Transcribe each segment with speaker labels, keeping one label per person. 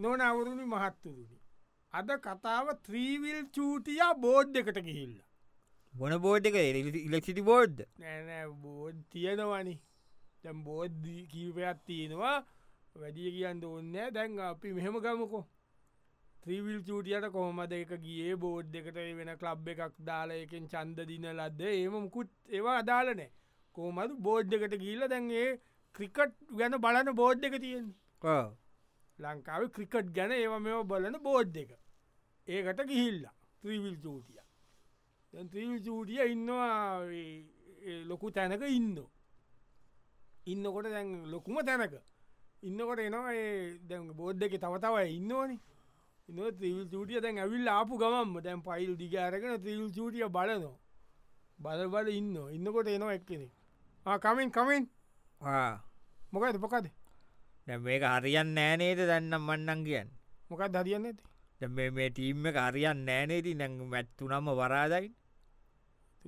Speaker 1: නොනවරුණි මහත්තුරුණි. අද කතාව three-wheel චූතියා board එකට ගිහිල්ල.
Speaker 2: බොන බෝඩ් එක ඉලෙක්සිටි බෝඩ්
Speaker 1: නෑනෑ බෝඩ් තියෙනවනි දැම් බෝද්ධ කීපයක් තියෙනවා වැඩිය කියන්න ඔන්න දැන් අපි මෙහෙම ගමකෝ. ත්‍රීවිල් චූටියට කොහොමද එක ගියේ බෝඩ් එකට ඒ වෙන කලබ් එකක් දාලා එකෙන් චන්ද දින ලද්ද ඒම මුකුත් ඒවා අදාලනෑ කෝමද බෝඩ් එකට ගිල්ල දැන් ඒ ක්‍රිකට් ගැන බලන බෝඩ් එක තියෙන් ලංකාව ක්‍රිකට් ගැන ඒව මෙ බලන බෝඩ් එක ඒකට ගිහිල්ලා ත්‍රීවිල් චූටිය දැන් ත්‍රීවිල් චූටිය ඉන්නවා ඒ- ඒ ලොකු තැනක ඉන්න ඉන්නකොට දැන් ලොකුම තැනක ඉන්නකොට එනවා ඒ දැන් බෝඩ් එක තවතවයි ඉන්නවනි ඉන්න ත්‍රීවිල් චූටිය දැන් ඇවිල් ආපු ගමම්ම දැන් පයිල් දිගාරගෙන ත්‍රීවිල් චූටිය බලනෝ බල බල ඉන්න ඉන්නකොට එනවා එක්කෙනෙ කමෙන් කමෙන් මොකද පොකද
Speaker 2: දැ මේක හරියන් නෑනේද දැන්නම් මන්නන් කියන්න
Speaker 1: මොකක් දරියන්න ඇති
Speaker 2: දැන් මේ- මේ ටීම්ම හරියන් නෑනේති නැ මැත්තුනම්ම වරාදයි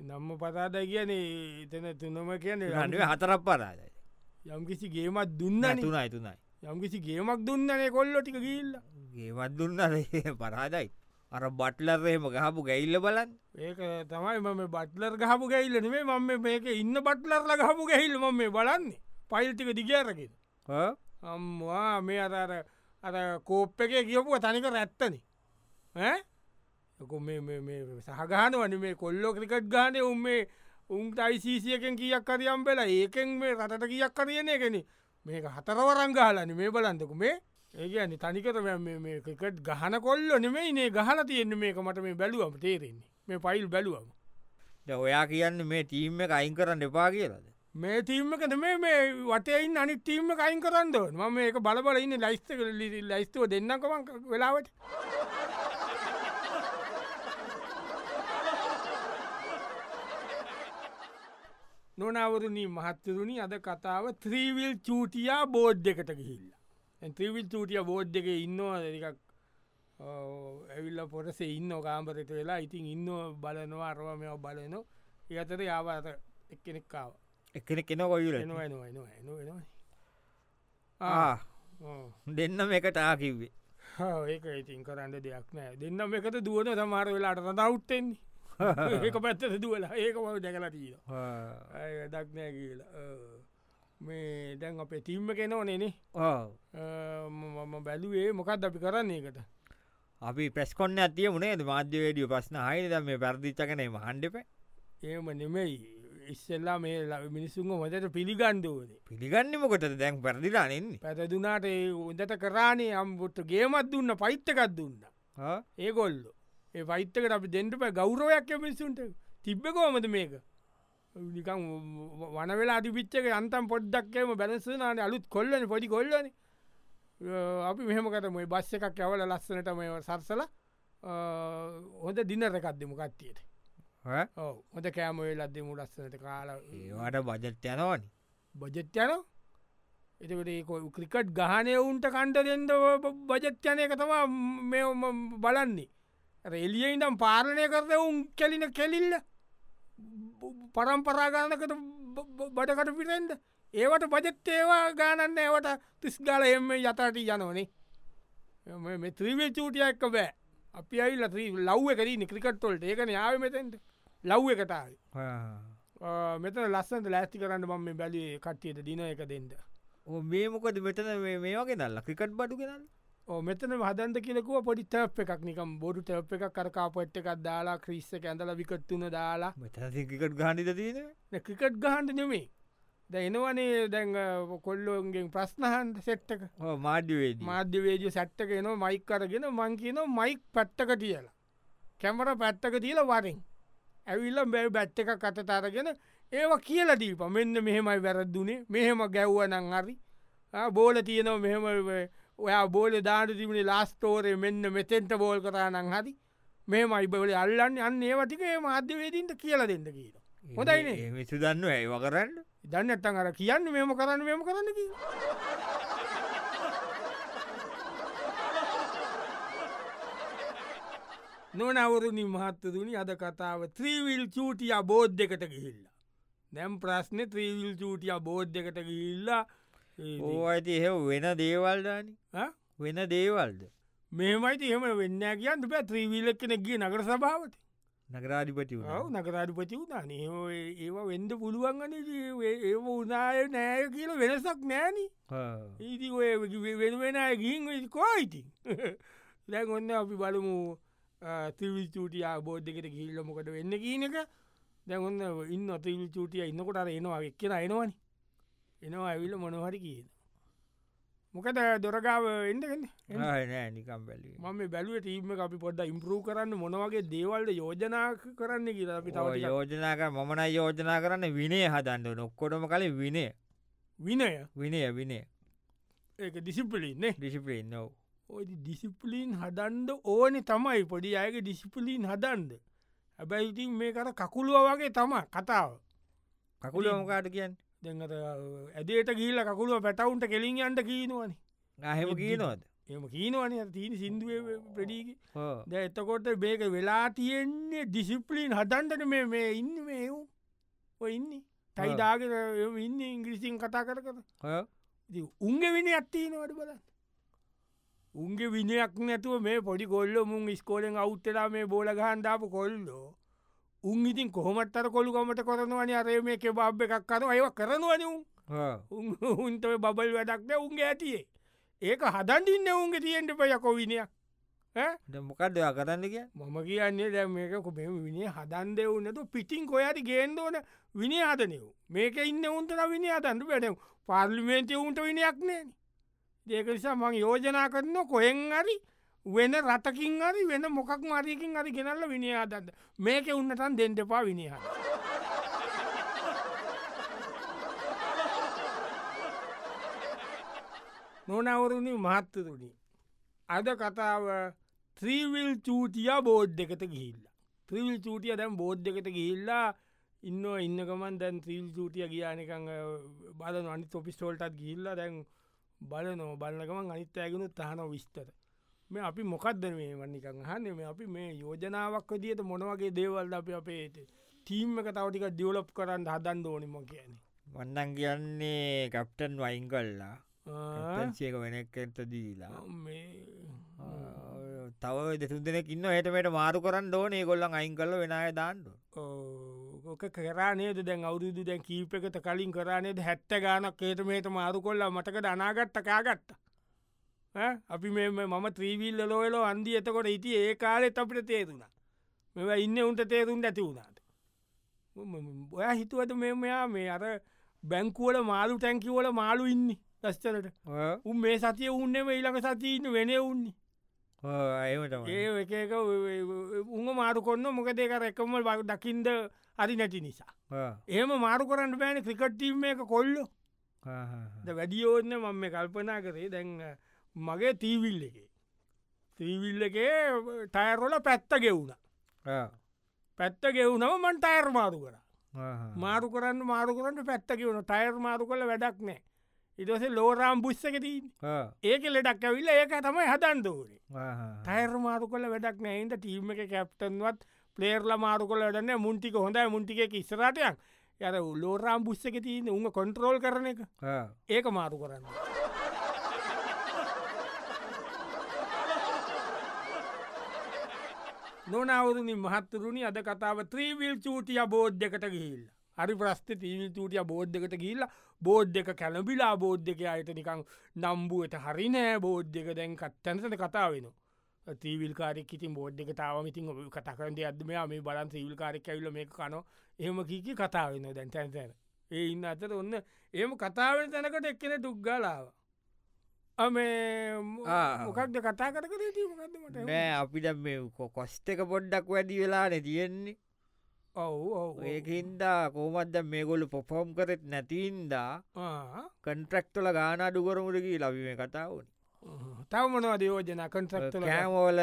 Speaker 1: නම්ම පතාද කියන එතන තුනම කියන
Speaker 2: ඩුව හතරක් පරාදයි
Speaker 1: යම්කිසි ගේමත් දුන්නන
Speaker 2: තුනයි තුනයි
Speaker 1: යම්කිසි ගේමක් දුන්නනේ කොල්ලො ටික ගිල්ල
Speaker 2: ගේවත් දුන්න පරාදයි අර බට්ලර්රේම ගහපු ගැල්ල බලන්
Speaker 1: ඒක තමයි මම බට්ලර් ගහපු ගැහිල්ලනේ මම මේක ඉන්න බට්ලර්ල ගහපු ගැහිල්ල ම මේ බලන්නේ පයිල්ටික දිගාරගෙන
Speaker 2: හ්ම්?
Speaker 1: අම්වා මේ අර අර කෝප් එක කියපුුව තනික රැත්තන ලොකු සහගාන වන මේ කොල්ලෝ ක්‍රිකට් ගානය උන් මේ උන්ට අයිසීසියකෙන් කියක් කරියම් වෙලා ඒකෙන් මේ රටට කියක් කරයනය කෙනෙ මේක හතරවරංගාලන මේ බලන්තකු මේ ඒගනි තනිකර මේ- මේ- මේ ක්‍රිකට් ගහන කොල්ල නෙමයි නේ ගහල තියෙන්නේ මේක මට මේ බැලුවම තේරෙන්නේ මේ පයිල් බැලුවම
Speaker 2: දැන් ඔයා කියන්න මේ ටීම්ම කයින් කරන්න එපා කියලද
Speaker 1: මේ තීමකද මේ මේ වටයින් අනි තීම කයින් කරන්න ම මේක බලබල ඉන්න ලයිස්තක ලයිස්තුව දෙන්නකම වෙලාවට නොනවරුණී මහත්තරුණි අද කතාව ත්‍රීවිල් චූටියා බෝඩ් එකට ගිහිල්ලා ත්‍රීවිල් චූටිය බෝඩ් එක ඉන්නවා දෙකක් ඇවිල්ල පොටසේ ඉන්න කාම්පරත වෙලා ඉතින් ඉන්න බලනවා අරවා මෙ බලනො ඒතර යාවාත එක්කෙනෙක්කාව
Speaker 2: එකන කෙන කොයිුල
Speaker 1: එනවා එනවා එනවා එනවා එනවා ඕ.
Speaker 2: දෙන්න එකටා කිව්වේ
Speaker 1: හා, ඒක ඉතින් කරන්න දෙයක් නෑ දෙන්නම් එකට දුවන සමාර වෙලාට දවුත්තෙන්නේ ඒක පැත්තට දුවලා ඒක මව දැකලා තිීලා දක්නෑ කියලා ඔව්. මේ දැන් අපේ තිම්ම කෙනෝ නෙනේ
Speaker 2: ඕ
Speaker 1: මම බැලුවේ මොකක්ද අපි කරන්නේ එකට
Speaker 2: අපි ප්‍රස්කොන්න ඇතිය මුණේ මාධ්‍යවේඩිය ප්‍රශ්න හයිද මේ පැරදිච්චකනේ මහන්ඩිප
Speaker 1: ඒම නෙමෙයි ඉස්සල්ලා මේ ල- මිනිස්සුන්ව මදට පිළිගණ්ඩුවනේ
Speaker 2: පිළිගන්නමකොට දැන් පැරදිලා නෙන්නේ
Speaker 1: පැතදුනාට ඒ උදට කරානේ අම්බොට්ට ගේමත් දුන්න පෛත්තකත් දුන්න
Speaker 2: ආ.
Speaker 1: ඒගොල්ලො ඒ පෛත්තකට අපි දෙන්ට පැ ගෞරෝයක් මිනිසුන්ට තිබ්බකෝමද මේක නිකං වනවෙලා අධිපිච්චක අන්තම් පොඩ්ඩක්කම බැලසනාට අලුත් කොල්ලන පොඩි කොල්ලන අපි මෙහමකටම බස්ස එකක් ඇවල ලස්සනට මේ සර්සල හොඳ දිනරකත් දෙමු කට්ටියට
Speaker 2: ආ.
Speaker 1: ඕ හොඳ කෑමවෙල් අදෙමු ලස්සනට කාලා
Speaker 2: ඒවාට බජට් යනවානි
Speaker 1: බජත්්‍යන එතකට ඒ කො- ක්‍රිකට් ගහනය උන්ට කණ්ඩදෙන්ද බජත්්‍යනය කතමා මෙ බලන්නේ රෙලියයින්ටම් පාලනය කරද උන් කෙලින කෙලිල්ල පරම්පරාගානකට බඩකට පිරෙන්ද ඒවට බජත් ඒවා ගානන්න ඒවට තිස් ගල එම යතට යනෝනේ එම මේ ත්‍රීවේ චූටිය එක්ක බෑ අපි අයිල්ල ත්‍රී ලව් එකරී ක්‍රිකට්ටොල්ට ඒකන යාව මෙතෙන්ට ලව් එකටාව ආ, මෙතන ලස්සන්ට ලෑස්ති කරන්න මම මේ බැලි කට්ටියට දින එක දෙන්න
Speaker 2: ඕ මේ මොකද මෙතන මේ- මේ වගේ දල්ලා ක්‍රිකට් බඩු කෙනන්න
Speaker 1: ඕ මෙතන හදන්ද කියලකුව පොඩි තප් එකක් නිකම් බොඩු තප් එකක් කරකාපොට් එකක් දාලා ක්‍රිස්ස ඇඳල විකට්තුන දාලා
Speaker 2: මෙතන ක්‍රිකට් ගානිත තියෙන
Speaker 1: නේ ක්‍රිකට් ගහන්ට නෙමේ ද එනවනේ දැන් අ, කොල්ලෝන්ගෙන් ප්‍රශ්නහන්ට සෙට්ටක
Speaker 2: මාඩ්‍යවේද
Speaker 1: මාධ්‍යවේජ සැට්ටක එන මයික් අරගෙන මංකින මයික් පැට්ටක තියලා කැමර පැත්තක තියල වරෙන් ඇවිල්ල බැල් බැට් එක කතතාරගෙන ඒව කියල දීප මෙන්න මෙහෙමයි වැරද්දුනේ මෙහෙම ගැව්වනං හරි ආ, බෝල තියනව මෙහෙම ව- ඔයා බෝල දාට තිබුණේ ලාස්තෝරය මෙන්න මෙතෙන්ට බෝල් කරානං හරි මෙමයි බවල අල්ලන්න අන්න ඒවටික ඒ මාධ්‍යවේදීන්ට කියල දෙන්න කියලා හොඳයිනේ.
Speaker 2: මිසු දන්න ඇව කරන්න
Speaker 1: දන්න ඇත්තන් අර කියන්න මෙම කරන්න මෙම කරන්න කිය නොනවරුණි මහත්තතුනි අද කතාව ත්‍රීවිල් චූටිය බෝද්ධ එකට ගිහිල්ලා නැම් ප්‍රශ්න ත්‍රීවිල් චූටිය බෝද්ධ එකට ගිහිල්ලා ඒ
Speaker 2: ඕ අයිති එහෙ වෙන දේවල්දානි
Speaker 1: ඈ?
Speaker 2: වෙන දේවල්ද
Speaker 1: මෙමයිති එහෙම වෙන්න කියන්න පැ ත්‍රීවිලක් කෙනෙක් ගිය නගර සභාවට
Speaker 2: නගරාධිපති
Speaker 1: ඔව් නකරාඩිපති වුණා නහම ඒවා වෙන්ඩ පුළුවන්ගන ඒ උනාය නෑය කියල වෙනසක් නෑන
Speaker 2: වුණ
Speaker 1: ඉති ඔය වෙනුවෙන අය ගිහින් වෙයි කෝයිති දැන් ඔන්න අපි බලමු තිවිල් චූටිය බෝද්ධකට ගිල්ල මොකට වෙන්න කියන එක දැන් ඔන්න ඉන්න අතිවිල් චූටිය ඉන්නකොට අර එනවා එක් කියෙන එනවනි එනවා ඇවිල්ල මොනහරි කියන මොකද දොරගාව එන්නගන්න එන්න
Speaker 2: නෑ නිකම් බැලි
Speaker 1: මම බැලුව ටීම අපි පොඩ්ඩ ඉම්පරූ කරන්න මොනවගේ දේවල්ට යෝජනා කරන්න කියලා අපි තව ටිකක්.
Speaker 2: යෝජනාක මමන යෝජනා කරන්න විනේ හදන්න නොක්කොටම කලින් විනය
Speaker 1: විනය
Speaker 2: විනය විනේ
Speaker 1: ඒක ඩිසිපලින්නේ
Speaker 2: ඩිසිපලෙන් නොව
Speaker 1: ඔය ඩිසිපලින් හදන්ඩ ඕනෙ තමයි පොඩි අයගේ ඩිසිපලින් හදන්ඩ හැබැයි ඉතින් මේ කර කකුළුව වගේ තම කතාව
Speaker 2: කකුල මොකාට කියන්න
Speaker 1: දෙඟට ඇදේට ගීල කකුළුව පැටවුන්ට කෙලින් අන්ට කීනවන
Speaker 2: අහෙම කියනොද
Speaker 1: එම කීනවන තිීන සිින්දුව ප්‍රඩීකි ද එතකොට බේක වෙලා තියෙන්නේ ඩිසිප්ලින් හදන්ටන මේ මේ ඉන්න මේ ඔය ඉන්නේ තයිදාගෙන ඉන්න ඉංග්‍රිසින් කතා කර කර ඉතින් උන්ගේ විනි අත්තිීනවට බලන්න උන්ගේ විනයක් නැතුව මේ පොඩි කොල්ල මුන් ස්කෝලෙන් අවුත්තලා මේ බෝල ගහන්ඩාපු කොල්ලෝ උන් ඉතින් කොහොමත් අර කොළුකමට කරනවන අරය මේ කෙබාබ් එකක් කර අය කරනවනුම් උන්තව බබල් වැඩක්ද උන්ගේ ඇතියේ ඒක හදන්ඩින්න උන්ගේ තියෙන්ට පයකො විනයක් ඈ?
Speaker 2: මොකක්ද ඔයා කරන්න කිය
Speaker 1: මම කියන්නේ දැ මේකු මෙම විනි හදන්ද වන්නතු පිටින් කොයාට ගේන්දෝන විනි හදනයව මේක ඉන්න උන්තර විනි අදන්ට වැඩ පාර්ලිමේන්තය උන්ට විනියක් නෑන දෙක නිසා මං යෝජනා කරන කොහෙන් හරි වෙන රටකින් හරි වෙන මොකක් මරයකින් හරි ගෙනල්ල විනි අදන්න මේක උන්නතන් දෙන්ටපා විනිහ නොනවරුණි මහත්තතුනි අද කතාව ත්‍රීවිල් චූටිය බෝඩ් එකට ගිහිල්ල ත්‍රීවිල් චූටිය දැම් බෝඩ් එකට ගිහිල්ලා ඉන්න ඉන්නකමන් දැන් ත්‍රීල් චූටිය ගියානකං බල අනි තොපිස්ටෝල්ටත් ගිල්ල දැන් බල නෝ බලකමන් අනිත් ඇගෙනු තහන විස්තර මේ අපි මොකක්ද මේ වන්නිකං හන්න මේ අපි මේ යෝජනාවක් දියට මොනවගේ දේවල්ද අප අපේට තීම්ම එක තවටික ඩියවලප් කරන්න හදන් ඕනිම කියන්නේ
Speaker 2: වන්නන් කියන්නේ කප්ටන් වයින් කල්ලා
Speaker 1: ආ,
Speaker 2: පැන්සියක වෙනක් ඇත දීලා
Speaker 1: මේ
Speaker 2: ආ, තව දෙසු දෙනෙක් ඉන්න හටමට මාරු කරන්න ඕනේ කොල්ලන් අයින් කල්ල වෙනය දාන්නඩ
Speaker 1: ඕක කරනේද දැන් අවුරුදු දැන් කීපකට කලින් කරනේද හැත්ත ගානක් ඒතමේට මාරු කොල්ලා මටක දනාගත්ත කාගත්ත අපි මේ මේ මම ත්‍රීවිල්ල ලෝයලෝ අන්දි එතකොට ඉති ඒ කාලෙත් අපට තේරුණා මෙ ඉන්න උන්ට තේරුම් ඇති වුණාට ඔය හිතුවට මෙ මෙයා මේ අර බැංකුවල මාළු ටැංකිවල මාළු ඉන්න ලස්චලට උන් මේ සතිය උන්නෙම ඊළඟ සතිීන්න වෙන උන්නේ
Speaker 2: ඒමටම
Speaker 1: ඒ එක එක උම මාරු කොන්න මොකද ඒකර එකම බ දකිින්ද අරි නැති නිසා. ඒම මාරු කරන්න බෑන ක්‍රිකට්ටීම් එක කොල්ලො ද වැඩියෝන්න මම මේ කල්පනා කරේ දැන් මගේ තීවිල් එක. තීවිල් එක ටයරොල පැත්ත ගෙවුණ. පැත්ත ගෙවුණව මන් ටයර් මාරු කර. මාරු කරන්න මාරු කරන්න පැත්ත ගෙවුණ ටයර් මාරු කළ වැඩක් නෑ. ඉටස ලෝරාම් බුස්සකතින් ඒක ලෙඩක් ඇවිල්ල ඒක තමයි හදන්දූරේ. ටයර් මාරු කල වැඩක් නෑන්ට ටීම එක කැප්ටන්වත් පලේර්ල මාරු කල වැඩන්න මුන්ටික හොඳයි මුන්ටික ඉස්රටයක් යර ලෝරාම් බුස්සක තියන උම කොන්ට්‍රෝල් කරන එක ඒක මාරු කරන්න. නොනවරුණි මහත්තුරුණි අද කතාව ත්‍රීවිල් චූටිය බෝද්ධකට ගිහිල්ල. හරි ප්‍රස්ථ තීවිල් චූටිය බෝද්ධකට ගිල්ල බෝද්ධ එක කැලබිලා බෝද්ධක අයට නිකං නම්බුවට හරි නෑ බෝද්ධක දැන් කත්තැන්සට කතා වෙන. තීවිල්කාරෙක් ඉතින් බෝද්ධක තාවම ඉතින් ඔ කතකරට අදමයා මේ බලන් ්‍රීවිල්කාරෙක් ඇවිල මේ කනො එහම කීකි කතා වෙන දැන් තැන්තැන. ඒ ඉන්න අතට ඔන්න ඒම කතාවෙන තැනකට එක්කෙන දුක්ගලාව. අමේ
Speaker 2: ආ.
Speaker 1: මොකක්ද කතා කර කර ටීමකක්දමට
Speaker 2: නෑ අපිට මේ කොස්ට එක පොඩ්ඩක් වැඩි වෙලාන තියෙන්නේ
Speaker 1: ඔවු ඔව්
Speaker 2: ඒකහින්දා කෝමත්ද මේගොලු පොෆෝම් කරෙත් නැතින්දා
Speaker 1: ආ.
Speaker 2: කන්ට්‍රක්ටල ගාන අඩුකරමුරකි ලබීම කතාවන
Speaker 1: තව මොනවද යෝජන කන්ට්‍රක්ටල
Speaker 2: කෑමෝල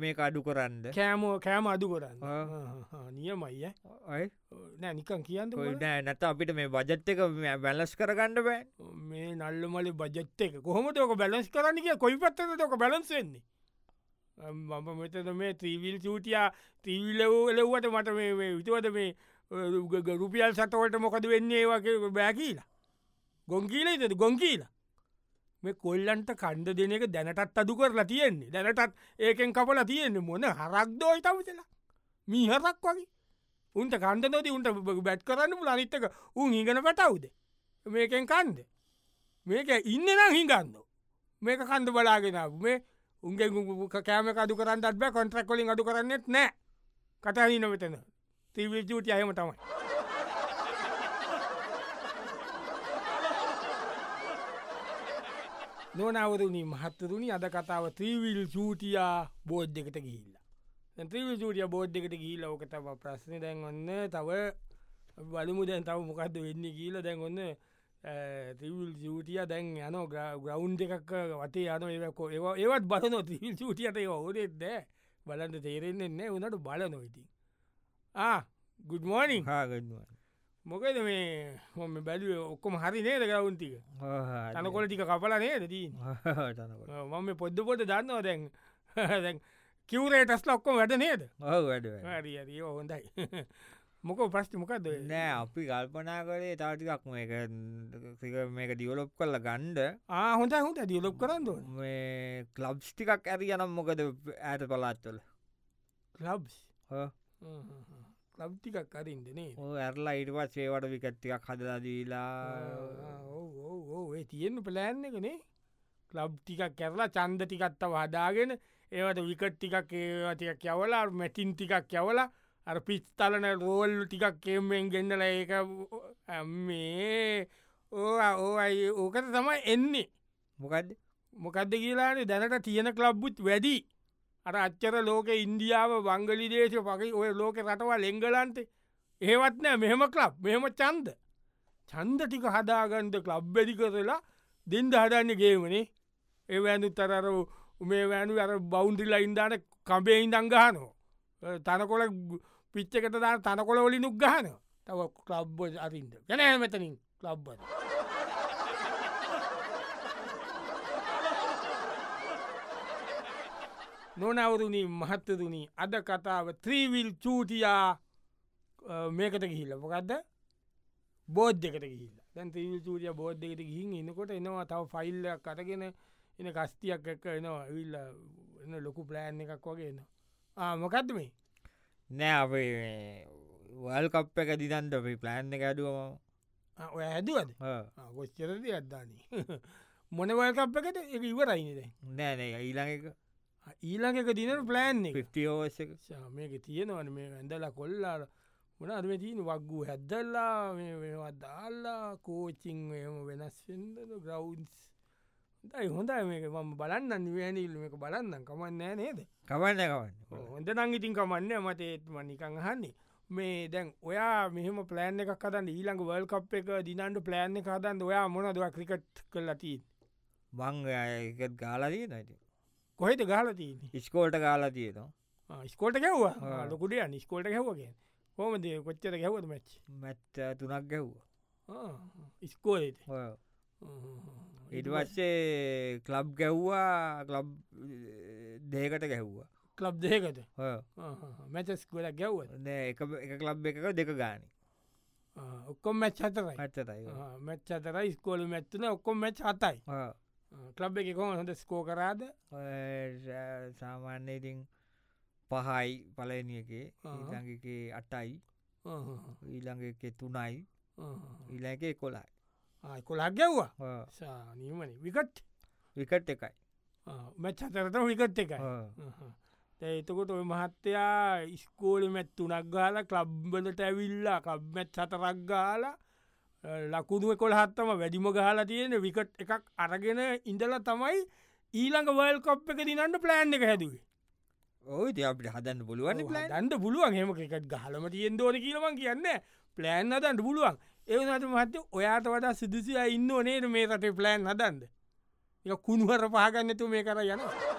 Speaker 2: මේ අඩු කරන්න
Speaker 1: කෑමෝ කෑම අදු කරන්න
Speaker 2: ආ.
Speaker 1: නියමයි ඈ.
Speaker 2: ඔය
Speaker 1: නෑ නිකන් කියන්න
Speaker 2: නෑ නැත අපිට මේ බජත් එක බැලස් කරගන්න බෑ
Speaker 1: මේ නල්ල මල බජත්ත එක කොහොමට ඕක බැලස් කරන්න කිය කොයි පත්තද ෝක බැලන්සෙන්නේ මම මෙතද මේ ත්‍රීවිල් චූටියා ත්‍රීවිල්ල එලව්වට මට මේ මේ විතුවද මේ අ, ග- රුපියල් සතවලට මොකද වෙන්නේ වගේ බෑ කියලා ගොන් කියීලයිද ගොන් කියලා මේ කොල්ලන්ට කණ්ඩ දෙන එක දැනටත් අදු කරලා තියෙන්නේ දැනටත් ඒකෙන් කපලා තියෙන්නේ මොන හරක් දෝයි තමසලා මීහරක් වගේ උන්ට කණ්ඩ නොති උන්ට බ- බැට් කරන්න පුල අනිත්තක උන් ඉගෙන පටවුද මේකෙන් කන්ද මේක ඉන්න නම් හිඟන්න මේක කන්ද බලාගෙනාව මේ උන්ගේ කෑම කදු කරන්න අත්බ කොන්ට්‍රක් කොලින් අඩු කරන්නෙත් නෑ කටහනි නොවෙතන තිවිල් චූටි අයම තමයි නොනවරුණී මහත්තරුණි අද කතාව ත්‍රීවිල් චූටියා බෝඩ් එකට ගිහිල්ලා ත්‍රීවිල් චූටිය බෝඩ් එකට ගිහිල ඕක තම ප්‍රශ්න දැන්ගන්න තව බලමු දැන් තව මොකක්ද වෙන්න කියීල දැන්ගන්න තිවිල් චූටිය දැන් යන ග්‍රවන්් එකක් වතේ යන ඒකෝ ඒවා ඒවත් බලන තිවිල් චූටියට ඕනෙත්ද බලන්ට තේරෙන්න්නේ උනට බලනො ඉතින් ගුඩ්මෝනිින් මොකද මේ හොම බැලුව ඔක්කොම හරි නේද ගවුන්තික තනකොල ටික කපල නේද දීන්
Speaker 2: තනකොට
Speaker 1: මම පොද්ද පොට දන්නවා දැන් දැන් කිවරේටස් ලොක්කො වැඩ නේද
Speaker 2: ඔව වැඩ
Speaker 1: හරිරිය හොඳයි මොකෝ ප්‍රශ්ටි මොකක්ද
Speaker 2: නෑ අපි කල්පනා කරේ තාටිකක් මේක සික මේක ඩියවලොප් කල්ල ගණ්ඩ
Speaker 1: හොඳ හොඳ දියලොක් කරන්න ඕන
Speaker 2: මේ කලබ්ස් ටිකක් ඇති යනම් මොකද ඇත පලාත්වල
Speaker 1: ලබ්
Speaker 2: හා.
Speaker 1: ලබ්ටිකක් කරින්ද නේ
Speaker 2: ඇරලා ඉටපත් සේවට විකට්ටිකක් හදලදීලා
Speaker 1: ඒ තියෙන්න්න පලෑන් එකනේ ලබ් ටිකක් කැරලා චන්ද ටිකත්තව හදාගෙන ඒවට විකට් ටිකක් ඒවතික යවලා මැටින් ටිකක් යවලා අර පිස්තලන රෝල් ටිකක් කෙම්මෙන් ගෙන්ඩල ඒක මේ ඕ ඕයි ඕකට තමයි එන්නේ
Speaker 2: මොකක්ද
Speaker 1: මොකක්ද කියලානේ දැනට තියෙන කලබ්බුත් වැඩි අර අච්චර ලෝක ඉන්දියාව වංගලි දේශ පකි ඔය ලෝක රටවා ලෙංගලන්තේ ඒවත් නෑ මෙහම කලබ් මෙහම චන්ද චන්ද ටික හදාගන්ද කලබ් වැඩි කරලා දෙන්ද හදන්න ගේමනේ ඒ වැඳු තරර මේ වැෑනු අර බෞන්ඩිල්ල ඉන්දාන කම්පේ ඉඳංගානෝ තනකොල පිච්චකට දා තනකොල වලිනුක් ගාන තව කලබ්බ අරින්ද ගැනෑ මෙතනින් කලබ්බට නොනවරුණී මහත්තතුනී අද කතාව ත්‍රීවිල් චූතියා අ, මේකට ගිහිල්ල මොකක්ද බෝද්ධකට ගිල්ල දැන් ත්‍රීවිල් චූතිය බෝද්ධකට ගිහින් එනකොට එනවා තව ෆයිල්ල කටගෙන එන කස්තියක් එක්ක එනවා විල්ල එන්න ලොකු ප්ලෑන් එකක් වගේ එනවා මොකක්ද මේ
Speaker 2: නෑ අපේ වල් කප් එක දිදන්ට අපි ප්ලෑන්් එක ඇඩුවම
Speaker 1: ආ, ඔය හැදුවද ගොස්්චරද අද්දානී මොනවල්කප් එකට එක ඉවරයිනිද
Speaker 2: නෑන ඊළඟ
Speaker 1: ඊළඟක දින ප්ලෑන් එක
Speaker 2: පිෝස එක
Speaker 1: ශා, මේක තියෙනවන මේ ඇඳලා කොල්ලා මොන අර්ම තියන වක්ගු හැද්දල්ලා මේ වෙනවා දාල්ලා කෝචිං එම වෙනස්ෙන්ද ග්‍රවන්ස් දයි හොඳයි මේක මම බලන්න නිවැනිල් මේක බලන්න කමන්නෑ නේද
Speaker 2: කමන්න කවන්න
Speaker 1: හොඳ නංගිතින් කමන්න මට ඒත්ම නිකං හන්නේ මේ දැන් ඔයා මෙහම පලෑන් එකක් කතන්න ඊළඟ වල් කප් එක දිනන්ට ප්ලෑන් එක කතන්න ඔයා මොනදවා ක්‍රිකට් කරලතිී
Speaker 2: මං එකත් ගාලදී නට
Speaker 1: කොහෙද ගාලතිීන
Speaker 2: ඉස්කෝල්ට කාලා තියනවා
Speaker 1: ස්කෝට ගැව්වා
Speaker 2: ආ.
Speaker 1: ලොකුටිය නිස්කෝට ගැව්වගේ හොමද කොච්චර ගැවද මච්ච
Speaker 2: මැත්ත තුනක් ගැව්වා
Speaker 1: ඉස්කෝලේද
Speaker 2: ඉටවස්සේ කලබ් ගැව්වා කලබ් දේකට ගැහ්වා
Speaker 1: කලබ් දෙකට
Speaker 2: ඔව්.
Speaker 1: මැචස් කොලක් ගැව්වද
Speaker 2: නෑ, එක එක කලබ් එක දෙක ගාන
Speaker 1: ඔක්කොම් මැච් අතරයි
Speaker 2: පටතයි
Speaker 1: මැච් අතර ස්කෝල මැත්තුන ඔක්කොම් මැච් අතයි කලබ් එක කොම හොඳ ස්කෝ කරාද
Speaker 2: සාමාන්‍ය ඉතින් පහයි පලනියකේ
Speaker 1: ආ.
Speaker 2: ඊළඟකේ අටයි ඊළඟ එක තුනයි ඊළඟ එක කොලයි
Speaker 1: කොලක් ගැව්වා සානීමන විකට්
Speaker 2: විකට් එකයි
Speaker 1: මැච් අතරතම විකට් එකයි
Speaker 2: ඔව්.
Speaker 1: හ්ම්. Uh-huh. දැන් එතකොට ඔය මහත්තයා ඉස්කෝල මැත් උනක්ගාල කලබ්බලට ඇවිල්ලා කබ්මැත් සතරක්ගාල ලකුදුව කොළ හත්තම වැඩිම ගහලා තියෙන විකට් එකක් අරගෙන ඉඳල තමයි ඊළඟ වල් කොප් එක දිනන්න ප්ලෑන්් එක හැදුවේ
Speaker 2: ඔය ඉතින් අපිට හදන්න පුළුවන් ප්ලන්
Speaker 1: දන්ඩ පුළුවන් හෙම එකට ගහලම තියෙන් දෝන කියලමන් කියන්න ප්ලෑන් අදන්ට පුළුවන් ඒවනට මහත්ත ඔයාට වඩා සිදුසිය ඉන්න ඕනේ මේ රටේ ප්ලෑන් හදන්ද එක කුණුවර පාගන්නතු මේ කර යනවා